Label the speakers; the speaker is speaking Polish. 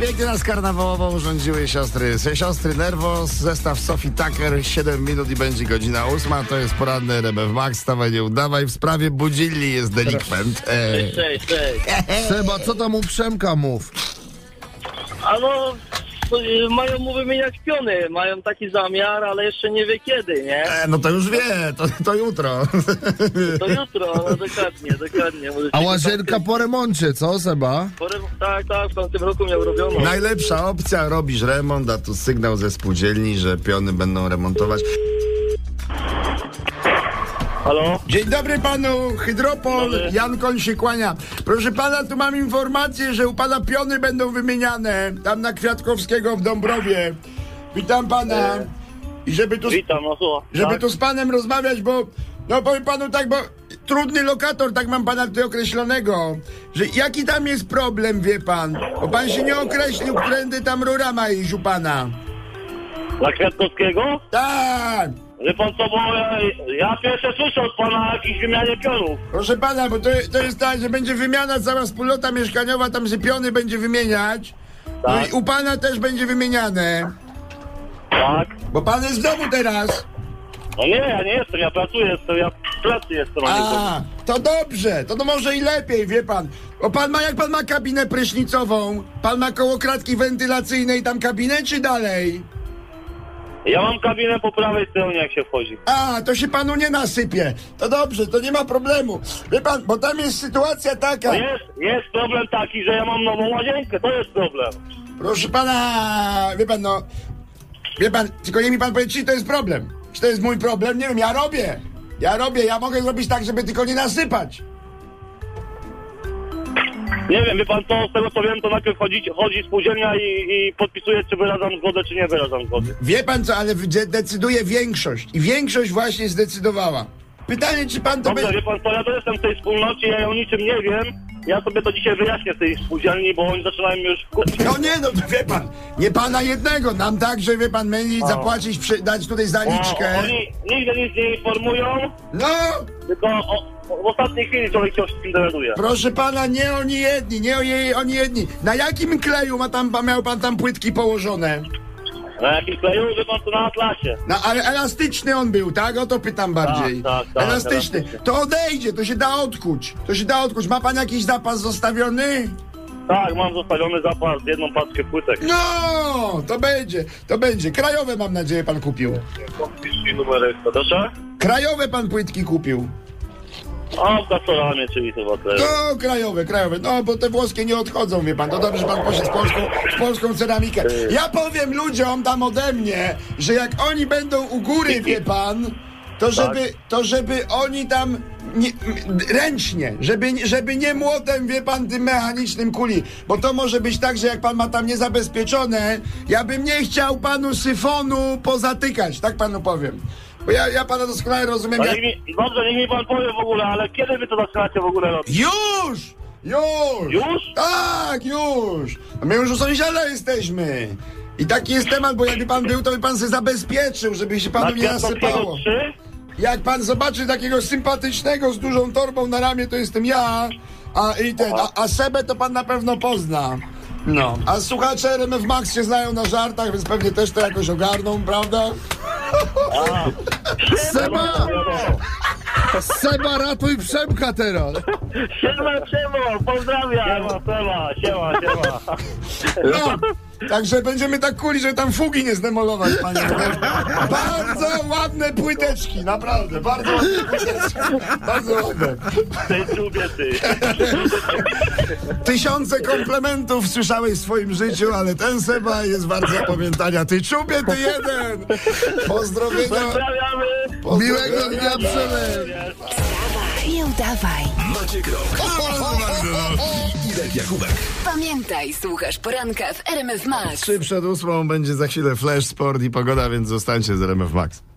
Speaker 1: Pięknie nas karnawałowo urządziły siostry. Se- Siostry Nervos, zestaw Sophie Tucker, 7 minut i będzie godzina ósma. To jest poranny RMF Max, stawaj nie udawaj. W sprawie Budzilli jest delikwent. E,
Speaker 2: Cześć, cześć.
Speaker 3: Seba, co tam u Przemka mów?
Speaker 2: A no, y, mają mu wymieniać piony, mają taki zamiar, ale jeszcze nie wie kiedy, nie?
Speaker 1: e, no to już wie, to, to jutro.
Speaker 2: To jutro, no dokładnie, dokładnie. Może
Speaker 3: A
Speaker 2: się
Speaker 3: łazienka
Speaker 2: tam-
Speaker 3: po remoncie, co Seba?
Speaker 2: Porę... Tak, tak, w tamtym roku miał robioną.
Speaker 1: Najlepsza opcja, robisz remont, a tu sygnał ze spółdzielni, że piony będą remontować.
Speaker 2: Halo?
Speaker 1: Dzień dobry panu, Hydropol,
Speaker 2: Dobry.
Speaker 1: Jan Koń się kłania. Proszę pana, tu mam informację, że u pana piony będą wymieniane, tam na Kwiatkowskiego w Dąbrowie. Witam pana. I żeby tu,
Speaker 2: Witam, no słucham.
Speaker 1: żeby
Speaker 2: tak?
Speaker 1: tu z panem rozmawiać, bo, no powiem panu tak, bo trudny lokator, tak mam pana tutaj określonego, że jaki tam jest problem, wie pan, bo pan się nie określił, którędy tam rura ma iść u pana.
Speaker 2: Dla Kwiatkowskiego?
Speaker 1: Tak.
Speaker 2: Wie pan co, bo ja, ja pierwsze słyszę od pana o jakiejś wymianie pionów.
Speaker 1: Proszę pana, bo to, to jest tak, że będzie wymiana cała wspólnota mieszkaniowa, tam się piony będzie wymieniać. No
Speaker 2: Tak.
Speaker 1: i u pana też będzie wymieniane.
Speaker 2: Tak?
Speaker 1: Bo pan jest w domu teraz.
Speaker 2: No nie, ja nie jestem, ja pracuję, jestem, ja w pracy jestem, a nie w
Speaker 1: A, to dobrze, to, to może i lepiej, wie pan. Bo pan ma, jak pan ma kabinę prysznicową, pan ma koło kratki wentylacyjnej tam kabinę czy dalej?
Speaker 2: Ja mam kabinę po prawej stronie, jak się wchodzi.
Speaker 1: A, to się panu nie nasypie. To dobrze, to nie ma problemu. Wie pan, bo tam jest sytuacja taka.
Speaker 2: No Jest, jest problem taki, że ja mam nową łazienkę, to jest problem.
Speaker 1: Proszę pana, wie pan, no. Wie pan, tylko nie mi pan powie, czy to jest problem. Czy to jest mój problem? Nie wiem, ja robię. Ja robię, ja mogę zrobić tak, żeby tylko nie nasypać.
Speaker 2: Nie wiem, wie pan co, z tego co wiem, to najpierw chodzi, chodzi spółdzielnia i, i podpisuje, czy wyrażam zgodę, czy nie wyrażam zgody.
Speaker 1: Wie pan co, ale w- de- decyduje większość. I większość właśnie zdecydowała. Pytanie, czy pan to
Speaker 2: Dobrze,
Speaker 1: będzie.
Speaker 2: wie pan co, ja to jestem w tej wspólnocie, ja o niczym nie wiem. Ja sobie to dzisiaj wyjaśnię w tej spółdzielni, bo oni zaczynają już kurczę.
Speaker 1: No nie, no to wie pan. Nie pana jednego. Nam także, wie pan, mieli zapłacić, przy, dać tutaj zaliczkę.
Speaker 2: Oni nigdy nic nie informują,
Speaker 1: No,
Speaker 2: tylko o, o, w ostatniej chwili człowiek się o wszystkim dowiaduje.
Speaker 1: proszę pana, nie oni jedni, nie oni- oni jedni. Na jakim kleju ma tam, miał pan tam płytki położone?
Speaker 2: Na jakim kleju, wie pan co, na Atlasie.
Speaker 1: No ale elastyczny on był, tak? O to pytam bardziej.
Speaker 2: tak, tak,
Speaker 1: elastyczny.
Speaker 2: elastyczny.
Speaker 1: To odejdzie, to się da odkuć. To się da odkuć. Ma pan jakiś zapas zostawiony?
Speaker 2: Tak, mam zostawiony zapas, jedną paczkę płytek.
Speaker 1: No, to będzie, to będzie. Krajowe mam nadzieję pan kupił.
Speaker 2: Kompisz numer jest, proszę?
Speaker 1: Krajowe pan płytki kupił.
Speaker 2: A, w Gasolanie, czyli chyba też.
Speaker 1: No, krajowe, krajowe. No, bo te włoskie nie odchodzą, wie pan. To dobrze, że pan poszedł w polską, w polską ceramikę. Ja powiem ludziom tam ode mnie, że jak oni będą u góry, wie pan, to żeby, to żeby oni tam nie, m- ręcznie, żeby, żeby nie młotem, wie pan, tym mechanicznym kuli. Bo to może być tak, że jak pan ma tam niezabezpieczone, ja bym nie chciał panu syfonu pozatykać, tak panu powiem. Bo ja, ja pana doskonale rozumiem.
Speaker 2: No
Speaker 1: jak...
Speaker 2: niech mi, dobrze, niech mi pan powie w ogóle, ale kiedy wy to zaczynacie w ogóle robić?
Speaker 1: Już! Już!
Speaker 2: Już?
Speaker 1: Tak, już! A My już u sąsiada jesteśmy! I taki jest temat, bo jakby pan był, to by pan się zabezpieczył, żeby się panu nie nasypało.
Speaker 2: 3?
Speaker 1: Jak pan zobaczy takiego sympatycznego z dużą torbą na ramię, to jestem ja, a, i ten, a, a Sebę to pan na pewno pozna.
Speaker 2: No.
Speaker 1: A słuchacze RMF Max się znają na żartach, więc pewnie też to jakoś ogarną, prawda?
Speaker 3: Seba! Seba, ratuj Przemka teraz!
Speaker 2: Siema, Przemo, pozdrawiam! Siema, Przema, siema, siema.
Speaker 1: No, także będziemy tak kuli, że tam fugi nie zdemolować, panie. Bardzo ładne płyteczki, naprawdę, bardzo ładne płyteczki. Bardzo ładne.
Speaker 2: Ty trubie, ty.
Speaker 1: Tysiące komplementów słyszałeś w swoim życiu, ale ten Seba jest wart zapamiętania. Ty czubie, ty jeden! Pozdrowienia.
Speaker 2: Pozdrawiamy!
Speaker 1: pozdrowienia.
Speaker 3: Miłego dnia, Przemek!
Speaker 4: Wstawaj i udawaj.
Speaker 5: Jakubek.
Speaker 4: Pamiętaj, słuchasz poranka w RMF Max.
Speaker 1: Trzy przed ósmą będzie za chwilę Flash Sport i pogoda, więc zostańcie z RMF Max.